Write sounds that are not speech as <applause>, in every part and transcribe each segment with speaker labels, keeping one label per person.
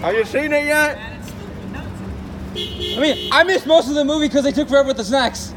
Speaker 1: Have you seen it yet?
Speaker 2: I mean, I missed most of the movie because they took forever with the snacks.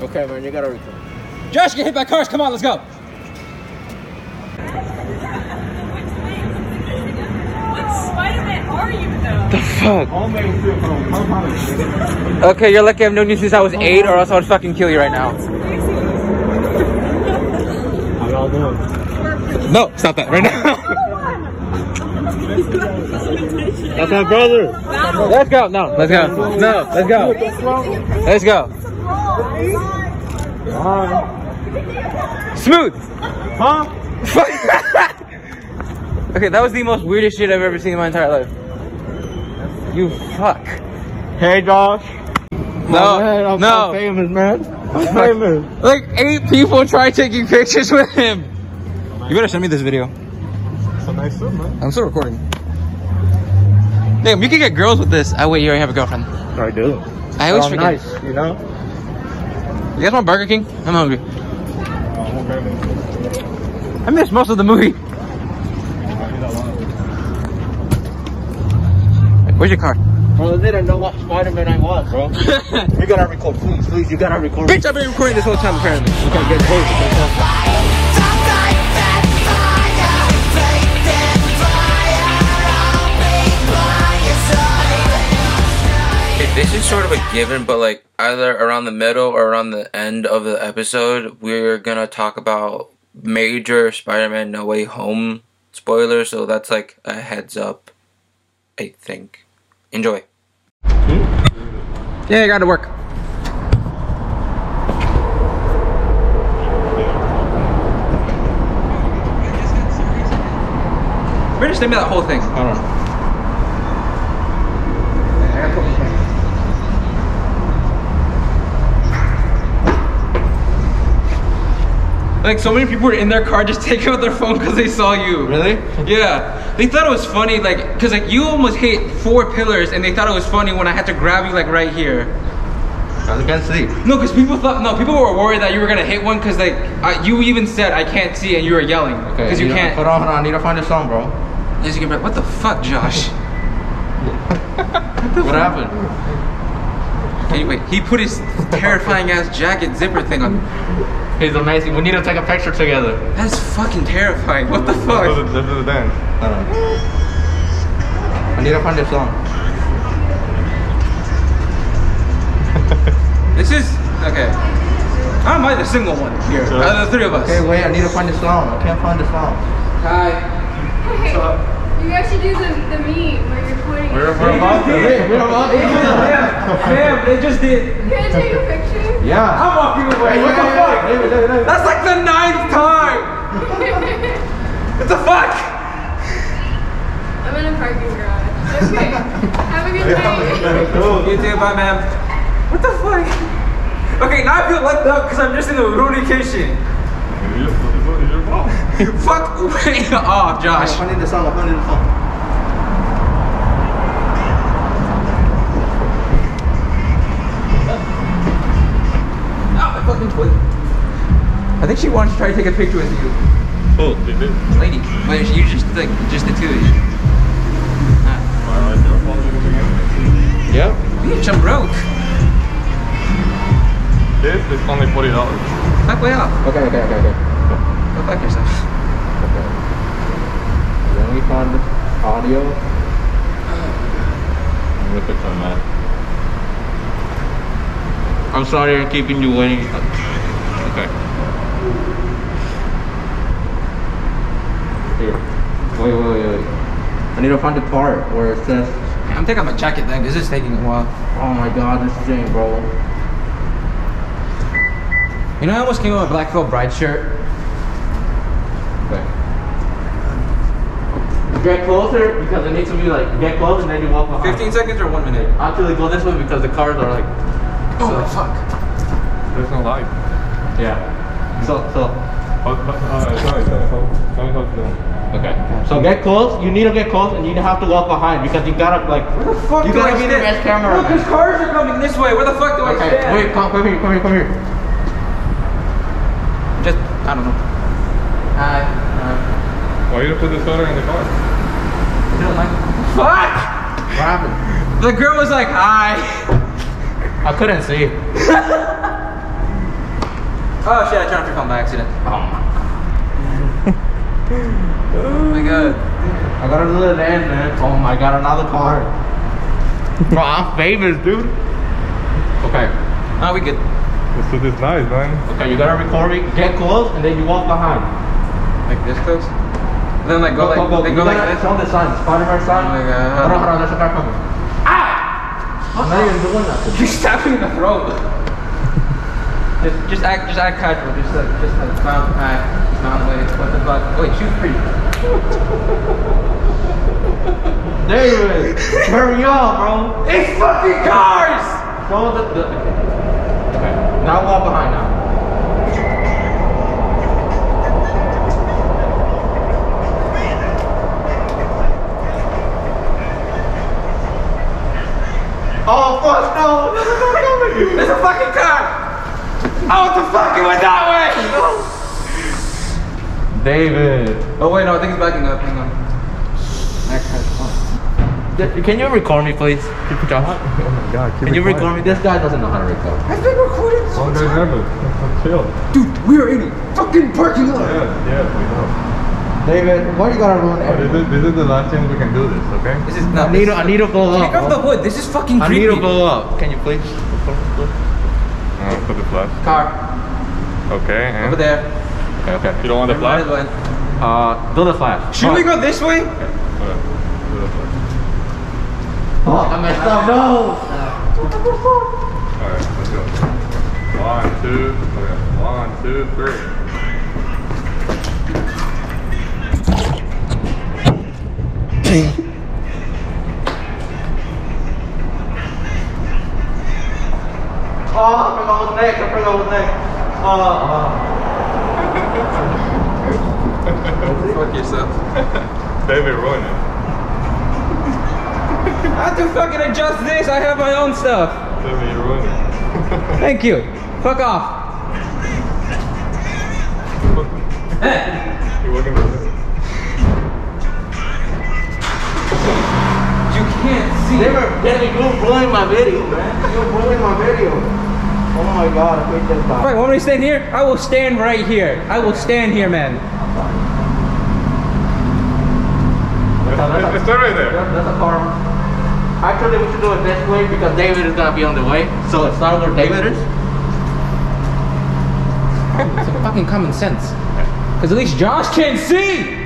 Speaker 1: Okay, man, you gotta record.
Speaker 2: Josh, get hit by cars. Come on, let's go.
Speaker 3: What Spider-Man are you though?
Speaker 4: Okay, you're lucky I've known you since I was eight, or else I would fucking kill you right now. No, stop that right now.
Speaker 1: That's my brother.
Speaker 4: Let's go. No, let's go. No, let's go. Let's go. Smooth.
Speaker 1: Huh?
Speaker 4: <laughs> Okay, that was the most weirdest shit I've ever seen in my entire life. You fuck.
Speaker 1: Hey, Josh.
Speaker 4: No,
Speaker 1: I'm I'm
Speaker 4: no.
Speaker 1: famous, man. I'm famous.
Speaker 4: <laughs> Like eight people tried taking pictures with him. You better send me this video.
Speaker 1: It's a nice suit, man.
Speaker 4: I'm still recording. Damn, you can get girls with this. Oh wait, you already have a girlfriend.
Speaker 1: I do.
Speaker 4: I always
Speaker 1: I'm
Speaker 4: forget.
Speaker 1: nice, you know?
Speaker 4: You guys want Burger King? I'm hungry. I missed most of the movie. Where's your car?
Speaker 1: Bro, they didn't know what Spider-Man I was, bro. you gotta record, please, please. You gotta record.
Speaker 4: Bitch, I've been recording this whole time apparently.
Speaker 1: can't get paid.
Speaker 5: This is sort of a given, but like either around the middle or around the end of the episode, we're gonna talk about major Spider-Man No Way Home spoilers. So that's like a heads up, I think. Enjoy.
Speaker 4: Yeah, I got to work. We're just name that whole thing. Hold on. Like so many people were in their car just <laughs> taking out their phone because they saw you. Really? Yeah. They thought it was funny, like, cause like you almost hit four pillars, and they thought it was funny when I had to grab you like right here.
Speaker 1: I can't sleep.
Speaker 4: No, because people thought no, people were worried that you were gonna hit one because like I, you even said I can't see and you were yelling because you, can't.
Speaker 1: Hold on, hold on. I need to find a song, bro.
Speaker 4: As you can be like, what the fuck, Josh?
Speaker 1: What happened?
Speaker 4: anyway, he put his terrifying ass jacket zipper thing on.
Speaker 1: He's amazing. We need to take a picture together.
Speaker 4: That's fucking terrifying. What the fuck?
Speaker 1: This is the dance. Hold on. I need to find a song.
Speaker 4: This is okay. How am I the single one here? Out of the three of us.
Speaker 1: Hey, wait. I need to find a song. I can't find a song.
Speaker 4: Hi.
Speaker 3: Wait, you guys should do the, the meme where you're pointing.
Speaker 1: We're, we're about to. We're about to.
Speaker 4: Yeah, fam, they just did.
Speaker 3: Can I take a picture?
Speaker 1: Yeah.
Speaker 4: I'm walking away. What the fuck? That's like the ninth time. What the fuck?
Speaker 3: I'm in a parking garage. Okay. Have a good night.
Speaker 4: You too, bye, ma'am. What the fuck? Okay, now I feel left out because I'm just in the Rooney kitchen. Fuck <laughs> way off, Josh.
Speaker 1: I need the song. I need the song.
Speaker 4: Ow, my fucking toilet. I think she wanted to try to take a picture with you.
Speaker 6: Oh, they did.
Speaker 4: Lady, wait, you just like just the two of you.
Speaker 1: Yeah.
Speaker 4: Bitch, I'm broke.
Speaker 6: This is only forty dollars.
Speaker 4: Fuck way off.
Speaker 1: Okay, okay, okay, okay.
Speaker 4: Go fuck yourself.
Speaker 1: Then we find audio.
Speaker 6: I'm gonna pick on that.
Speaker 1: I'm sorry I'm keeping you waiting. Okay. Here. Wait, wait, wait, wait. I need to find the part where it says,
Speaker 4: I'm taking my jacket then, this is taking a while.
Speaker 1: oh my god, this is Jane, bro.
Speaker 4: You know, I almost came with a black felt bride shirt.
Speaker 1: Okay. Get closer because it needs to be like, get close and then you walk behind.
Speaker 4: 15 seconds or one minute?
Speaker 1: Actually go this way because the cars are like,
Speaker 4: Oh, fuck.
Speaker 6: There's no light.
Speaker 1: yeah. So, so.
Speaker 6: Oh, but, uh, sorry, sorry, sorry, sorry, sorry, sorry.
Speaker 1: Okay. So get close. You need to get close, and you have to walk behind because you gotta like.
Speaker 4: Where the fuck
Speaker 1: you
Speaker 4: do
Speaker 1: gotta
Speaker 4: I
Speaker 1: be
Speaker 4: sit?
Speaker 1: the best camera.
Speaker 4: Look, his cars are coming this way. Where the fuck do I
Speaker 1: okay.
Speaker 4: stand?
Speaker 1: Wait. Come, come here. Come here. Come here.
Speaker 4: Just, I don't know. Hi.
Speaker 6: Why you put this photo in the car?
Speaker 4: You don't mind? Fuck!
Speaker 1: What happened?
Speaker 4: The girl was like, hi. I couldn't see. oh shit, I turned off your phone by accident. Oh Oh my god. I got another land, man.
Speaker 1: Oh my god, another car.
Speaker 4: Bro, I'm famous, dude. Okay. Now we good.
Speaker 6: This dude is nice, man.
Speaker 1: Okay, you gotta record it, get close, and then you walk behind.
Speaker 4: Like this close? Then like go like, They go
Speaker 1: You
Speaker 4: like
Speaker 1: gotta-
Speaker 4: this.
Speaker 1: Show
Speaker 4: <laughs>
Speaker 1: the sign, Spider-Man sign.
Speaker 4: Oh my
Speaker 1: Hold on, hold on,
Speaker 4: God. Ah!
Speaker 1: there's a car coming. Ah! I'm not even doing nothing.
Speaker 4: You stabbed me in the throat. just, just act, just act casual. Just like, just like, clown act, clown wait, what the fuck? Wait, shoot free.
Speaker 1: David, hurry up, bro.
Speaker 4: It's fucking cars.
Speaker 1: Show the, the, okay. okay. Now walk behind now. Oh fuck no! There's a car coming!
Speaker 4: It's a fucking car. Oh, what the fuck? It went that way.
Speaker 1: David,
Speaker 4: Oh wait, no, I think it's backing up. Hang on. That car's fine.
Speaker 1: can you record me, please? Can
Speaker 6: Oh my god, keep it
Speaker 1: you
Speaker 6: quiet.
Speaker 1: record me? This guy doesn't know how to record.
Speaker 4: I've been recording.
Speaker 6: Oh, there's never. Chill.
Speaker 4: Dude, we are in a fucking parking lot.
Speaker 6: Yeah, yeah,
Speaker 1: David, why you gotta ruin
Speaker 6: we know. This is, this is the last chance we can do this, okay?
Speaker 4: This is not.
Speaker 1: I need to, I need to go up.
Speaker 4: Take off the hood. This is fucking
Speaker 1: I
Speaker 4: creepy.
Speaker 1: need to go up. Can you please?
Speaker 6: Uh, for the flash.
Speaker 4: Car
Speaker 6: Okay, and?
Speaker 4: over there.
Speaker 6: Okay, okay. You don't want the
Speaker 4: Right
Speaker 6: flash?
Speaker 4: one.
Speaker 1: Uh, do the flash.
Speaker 4: Should we go this way?
Speaker 6: Okay, do the flash.
Speaker 1: Oh, I messed up. No.
Speaker 6: Alright, let's go. One, two, okay. One, two, three.
Speaker 1: Oh, I forgot his neck. I forgot his neck. Uh,
Speaker 4: Fuck yourself.
Speaker 6: David ruined it.
Speaker 4: I have to fucking adjust this. I have my own stuff.
Speaker 6: David, you ruined it.
Speaker 4: Thank you. Fuck off.
Speaker 6: You're working for this.
Speaker 4: You can't see.
Speaker 1: David, David, you ruined my video, man. You ruined my video. Oh my god, I hate this guy.
Speaker 4: Right, want me to stand here? I will stand right here. I will stand here, man.
Speaker 6: It's, it's right there.
Speaker 1: That's a car. Actually, we should do it this way because David is gonna be on the way. So start where David is.
Speaker 4: It's a fucking common sense. Cause at least Josh can see.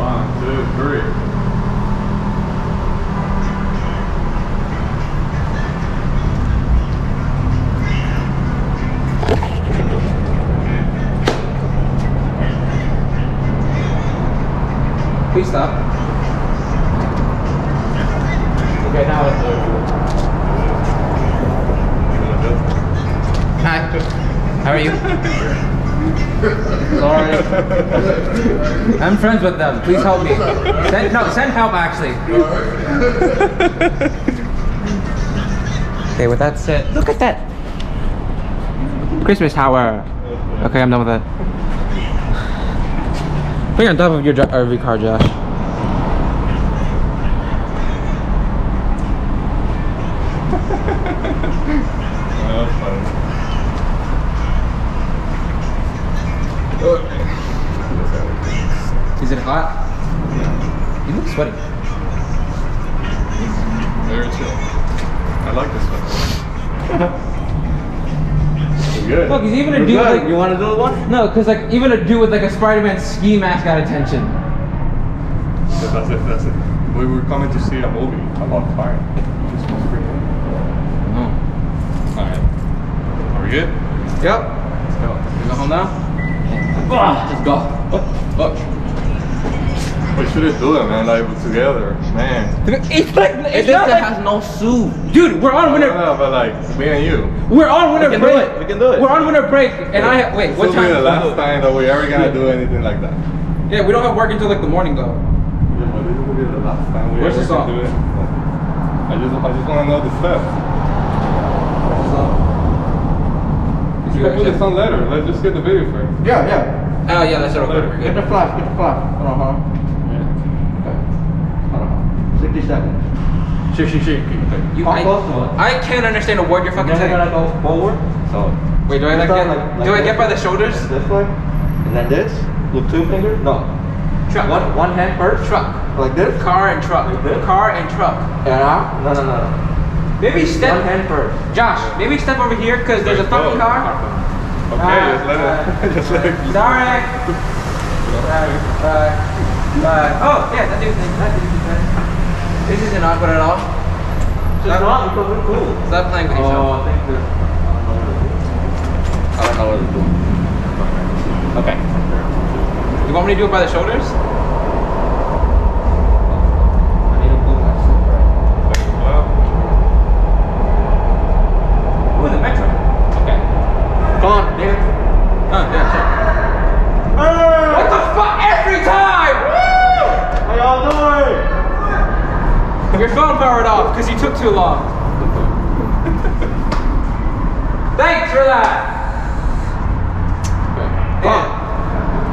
Speaker 6: One, two, three.
Speaker 4: Please stop.
Speaker 1: Okay, now it's over.
Speaker 4: Hi. How are you? Sorry. I'm friends with them. Please help me. Send, no, send help actually. okay, with that said, look at that Christmas tower. Okay, I'm done with that. Put it on top of your jo- RV car, Josh.
Speaker 6: No, Oh, that's fine.
Speaker 4: Is it hot? You look sweaty.
Speaker 6: Very chill. I like this one. <laughs> We're good.
Speaker 4: Look, he's even a
Speaker 1: You're
Speaker 4: dude
Speaker 1: good.
Speaker 4: like
Speaker 1: you wanna do the one?
Speaker 4: No, because like even a dude with like a Spider-Man ski mask got attention.
Speaker 6: That- That's it. That's it. We were coming to see a movie about fire. This was pretty All right. Are we good?
Speaker 4: Yep.
Speaker 6: Let's go.
Speaker 4: You go home now. Let's go.
Speaker 6: We should have do it, man. Like we're together, man.
Speaker 4: It's like it's not like,
Speaker 1: no suit.
Speaker 4: dude. We're on
Speaker 6: No,
Speaker 4: winter.
Speaker 6: no, but like me and you.
Speaker 4: We're on winter
Speaker 1: can do
Speaker 4: break.
Speaker 1: it, we can do it.
Speaker 4: We're on winter break, and I wait. What
Speaker 6: this will be the
Speaker 4: time?
Speaker 6: last time that we ever gonna do anything like that.
Speaker 4: Yeah, we don't have work until like the morning though.
Speaker 6: Yeah, but this will be the last time we
Speaker 4: Where's
Speaker 6: ever
Speaker 4: the
Speaker 6: can
Speaker 4: song?
Speaker 6: do it. I just, I just wanna know the steps. You can do the song later. Let's just get the video first.
Speaker 1: Yeah, yeah.
Speaker 4: Oh yeah, that's it. Okay, we're
Speaker 1: Get Uh-huh.
Speaker 4: good.
Speaker 1: the flash. Get the flash. Uh huh.
Speaker 6: Yeah.
Speaker 1: Okay. Uh huh. Sixty seven.
Speaker 6: Shake, shake, shake.
Speaker 4: You,
Speaker 1: How
Speaker 4: I,
Speaker 1: close was it?
Speaker 4: I can't understand a word you're
Speaker 1: And then
Speaker 4: fucking
Speaker 1: we're
Speaker 4: saying.
Speaker 1: gonna go forward. So
Speaker 4: Wait, do I like
Speaker 1: start
Speaker 4: get,
Speaker 1: like- like
Speaker 4: do I
Speaker 1: this.
Speaker 4: get by the shoulders?
Speaker 1: this way, and then this with two fingers. No,
Speaker 4: Truck.
Speaker 1: one one hand first.
Speaker 4: Truck.
Speaker 1: Like this.
Speaker 4: Car and truck.
Speaker 1: Like this?
Speaker 4: Car and truck.
Speaker 1: And out. No, no, no, no.
Speaker 4: Maybe
Speaker 1: One
Speaker 4: step.
Speaker 1: hand first.
Speaker 4: Josh, maybe step over here because there's a fucking car.
Speaker 6: Okay, just let it. <laughs> Just let it.
Speaker 4: <laughs> Sorry. Sorry. Sorry. Oh yeah, that dude's that dude's This isn't awkward at all.
Speaker 1: Just wrong because we're cool.
Speaker 4: Stop playing with yourself.
Speaker 1: Oh, I think there's. I don't know what it's doing.
Speaker 4: Okay. You want me to do it by the shoulders?
Speaker 1: I need to pull myself right.
Speaker 4: Ooh, the metro. Okay.
Speaker 1: Come on, David.
Speaker 4: Oh yeah. Sure. What the fuck? Every time. Woo!
Speaker 1: How y'all doing?
Speaker 4: Your phone powered off because you took too long. <laughs> Thanks for that. Yeah.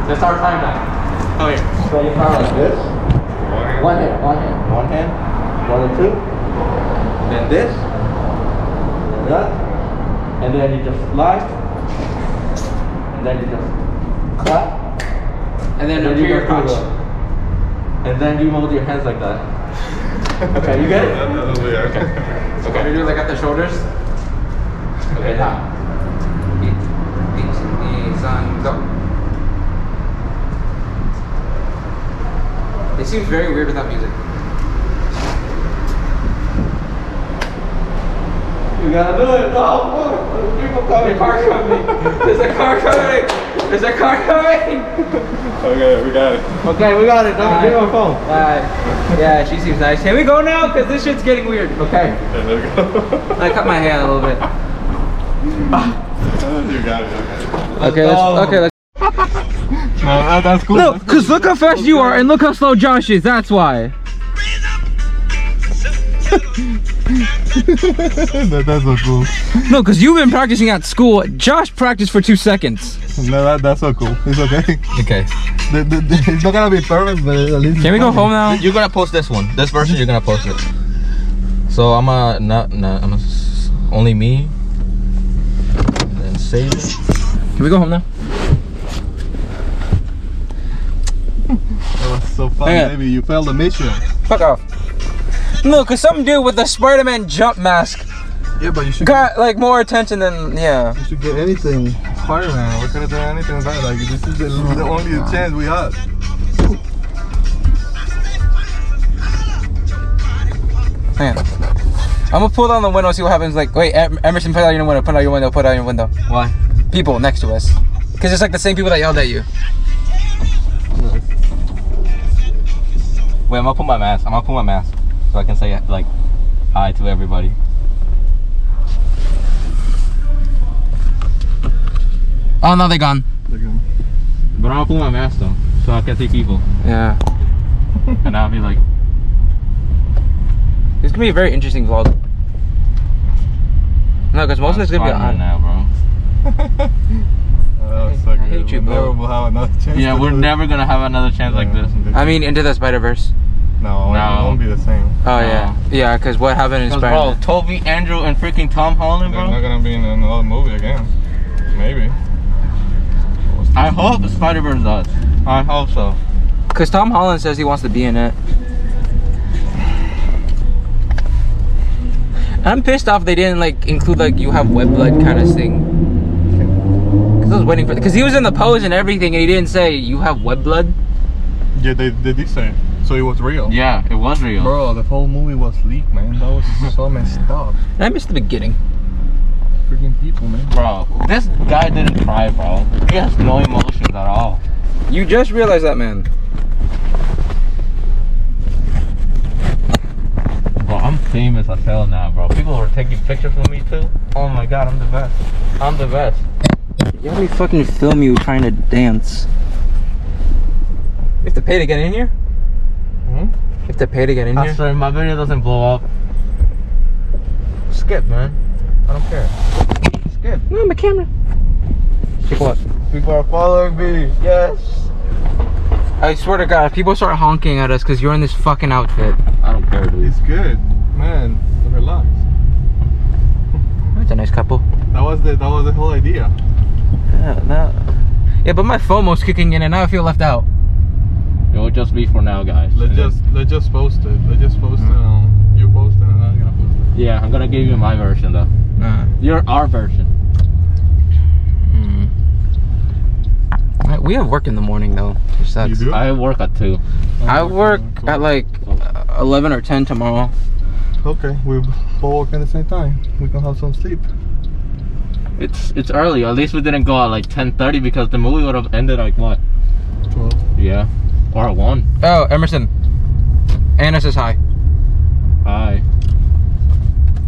Speaker 1: That's our time now.
Speaker 4: Oh yeah.
Speaker 1: So you power like this. One hand, one hand, one hand, one and two. Then this. And that. And then you just slide. And then you just clap.
Speaker 4: And then
Speaker 1: and
Speaker 4: under your
Speaker 1: go through
Speaker 4: crotch.
Speaker 1: the- And then you hold your hands like
Speaker 7: <laughs>
Speaker 1: that. okay, you get it?
Speaker 4: Okay. Can we do like at the shoulders?
Speaker 1: Okay, now.
Speaker 4: It seems very weird without music.
Speaker 1: You gotta do it. Oh, fuck. people
Speaker 4: There's
Speaker 1: coming.
Speaker 4: a car coming. There's a car coming. There's a car coming.
Speaker 6: Okay, we got it.
Speaker 1: Okay, we got it. Don't give my phone.
Speaker 4: Uh, yeah, she seems nice. Can we go now? Because this shit's getting weird.
Speaker 1: Okay.
Speaker 6: Okay, there we go. <laughs>
Speaker 4: I cut my hair a little bit.
Speaker 6: you got it. Okay.
Speaker 4: Okay, let's. Okay, let's.
Speaker 6: No, that, that's cool.
Speaker 4: No, uh, because look how fast you are and look how slow Josh is. That's why.
Speaker 6: that, that's so cool.
Speaker 4: No, because you've been practicing at school. Josh practiced for two seconds.
Speaker 6: No, that, that's so cool. It's okay.
Speaker 7: Okay.
Speaker 6: The- the- the- it's not gonna be perfect, but at least.
Speaker 4: Can we go home now?
Speaker 7: You're gonna post this one. This version, you're gonna post it. So I'm a not not I'm a s only me. And then save it.
Speaker 4: Can we go home now?
Speaker 6: That was so fun,
Speaker 4: Yeah.
Speaker 6: baby. You failed the mission.
Speaker 4: Fuck off. No, cause some dude with the Spider-Man jump mask
Speaker 6: Yeah, but you should.
Speaker 4: got like more attention than yeah.
Speaker 6: You should get anything. Spider-Man. We could have done anything about it. Like this is the, the only chance we had.
Speaker 4: Man. I'm gonna pull down the window, see what happens. Like, wait, Em- Emerson, put out your window, put out your window, put out your window.
Speaker 7: Why?
Speaker 4: People next to us. Cause it's like the same people that yelled at you.
Speaker 7: Wait, I'm gonna put my mask. I'm gonna put my mask so I can say like hi to everybody.
Speaker 4: Oh no, they gone.
Speaker 7: But I'm gonna put my mask though, so I can see people.
Speaker 4: Yeah.
Speaker 7: And I'll be like,
Speaker 4: This is gonna be a very interesting vlog. No, cause most of it's gonna be on.
Speaker 7: Spider-Man now, bro.
Speaker 6: Oh, that was so
Speaker 4: I hate
Speaker 6: good.
Speaker 4: you,
Speaker 6: we
Speaker 4: bro.
Speaker 6: Never will have another chance.
Speaker 7: Yeah,
Speaker 6: to
Speaker 7: we're
Speaker 6: do this.
Speaker 7: never gonna have another chance like this.
Speaker 4: I mean, into the Spider-Verse.
Speaker 6: No, it
Speaker 7: No.
Speaker 6: won't be the same.
Speaker 4: Oh yeah, yeah. Cause what happened in
Speaker 7: Cause
Speaker 4: Spider-Man?
Speaker 7: bro, Toby, Andrew, and freaking Tom Holland,
Speaker 6: They're not
Speaker 7: bro.
Speaker 6: gonna be in another movie again. Maybe.
Speaker 7: I hope Spider Verse does. I hope so.
Speaker 4: Cause Tom Holland says he wants to be in it. I'm pissed off they didn't like include like you have web blood kind of thing. Cause I was waiting for because he was in the pose and everything and he didn't say you have web blood.
Speaker 6: Yeah, they, they did say. it. So it was real.
Speaker 7: Yeah, it was real.
Speaker 6: Bro, the whole movie was leaked, man. That was so messed up.
Speaker 4: And I missed the beginning.
Speaker 6: Freaking people, man.
Speaker 7: Bro, this guy didn't cry, bro. He has no emotions at all.
Speaker 4: You just realized that man.
Speaker 7: Bro, I'm famous as hell now, bro. People are taking pictures with me too. Oh my god, I'm the best. I'm the best.
Speaker 4: You had me fucking film you trying to dance. You have to pay to get in here?
Speaker 7: Hmm?
Speaker 4: You have to pay to get in
Speaker 7: I
Speaker 4: here?
Speaker 7: swear, my video doesn't blow up. Skip, man. I don't care. Skip.
Speaker 4: No, my camera.
Speaker 7: People are following me. Yes.
Speaker 4: I swear to God, if people start honking at us because you're in this fucking outfit.
Speaker 7: I don't care, dude.
Speaker 6: It's good, man. Relax.
Speaker 4: That's a nice couple.
Speaker 6: That was the that was the whole idea.
Speaker 4: Yeah, no. yeah, but my FOMO's kicking in and now I feel left out.
Speaker 7: It'll just be for now, guys.
Speaker 6: Let's just let's just post it. Let's just post it. On, you post it, and I'm gonna post
Speaker 7: Yeah, I'm gonna give you my version though.
Speaker 4: Uh,
Speaker 7: You're our version.
Speaker 4: mm. Alright, We have work in the morning though. Which
Speaker 6: it. You
Speaker 4: sucks.
Speaker 6: do?
Speaker 7: I work at two.
Speaker 4: I work at like uh, 11 or 10 tomorrow.
Speaker 6: Okay, we both work at the same time. We can have some sleep.
Speaker 7: It's it's early. At least we didn't go at like 10:30 because the movie would have ended like what?
Speaker 6: Twelve.
Speaker 7: Yeah, or at one.
Speaker 4: Oh, Emerson. Anna says hi.
Speaker 7: Hi.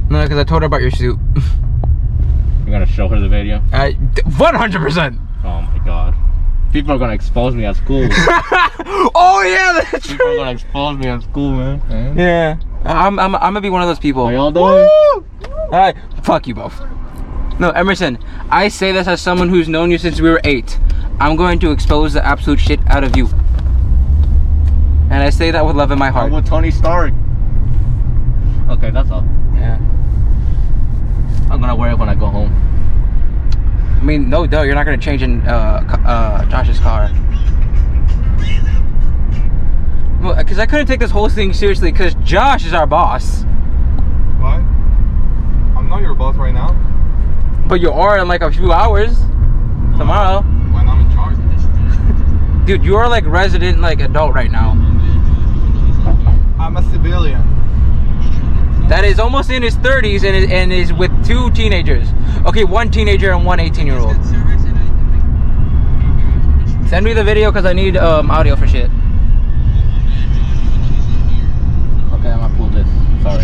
Speaker 4: No, because I told her about your suit. <laughs>
Speaker 7: You're gonna show her the video.
Speaker 4: I, 100%.
Speaker 7: Oh my god. People are gonna expose me at school.
Speaker 4: <laughs>
Speaker 7: <laughs>
Speaker 4: oh yeah, that's <laughs>
Speaker 7: People are gonna expose me at school, man.
Speaker 4: Yeah. I'm, I'm, I'm gonna be one of those people.
Speaker 7: How y'all doing?
Speaker 4: Alright, fuck you both. No, Emerson, I say this as someone who's known you since we were eight. I'm going to expose the absolute shit out of you. And I say that with love in my
Speaker 7: I'm
Speaker 4: heart.
Speaker 7: with Tony Stark. Okay, that's all.
Speaker 4: Yeah.
Speaker 7: I'm gonna wear it when I go home.
Speaker 4: I mean, no, duh, you're not gonna change in uh, c- uh, Josh's car. Because uh, I couldn't take this whole thing seriously because Josh is our boss.
Speaker 6: What? I'm not your boss right now.
Speaker 4: But you are in like a few hours. Tomorrow.
Speaker 6: When I'm in charge.
Speaker 4: Dude, you are like resident, like adult right now.
Speaker 6: <laughs> I'm a civilian.
Speaker 4: That is almost in his 30s and is, and is with two teenagers. Okay, one teenager and one 18 year old. Send me the video because I need um, audio for shit.
Speaker 7: Okay, I'm gonna pull this. Sorry.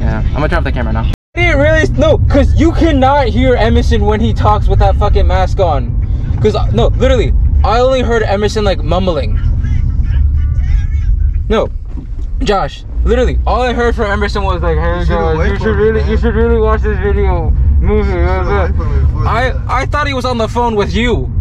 Speaker 4: Yeah, I'm gonna turn off the camera now. It really no, cause you cannot hear Emerson when he talks with that fucking mask on. Cause uh, no, literally, I only heard Emerson like mumbling. No, Josh, literally, all I heard from Emerson was like, "Hey
Speaker 6: You should've
Speaker 4: guys,
Speaker 6: waited
Speaker 4: you
Speaker 6: for
Speaker 4: should
Speaker 6: me,
Speaker 4: really,
Speaker 6: man."
Speaker 4: you should really watch this video." Movie.
Speaker 6: should've waited for me before you
Speaker 4: I
Speaker 6: did that.
Speaker 4: I thought he was on the phone with you.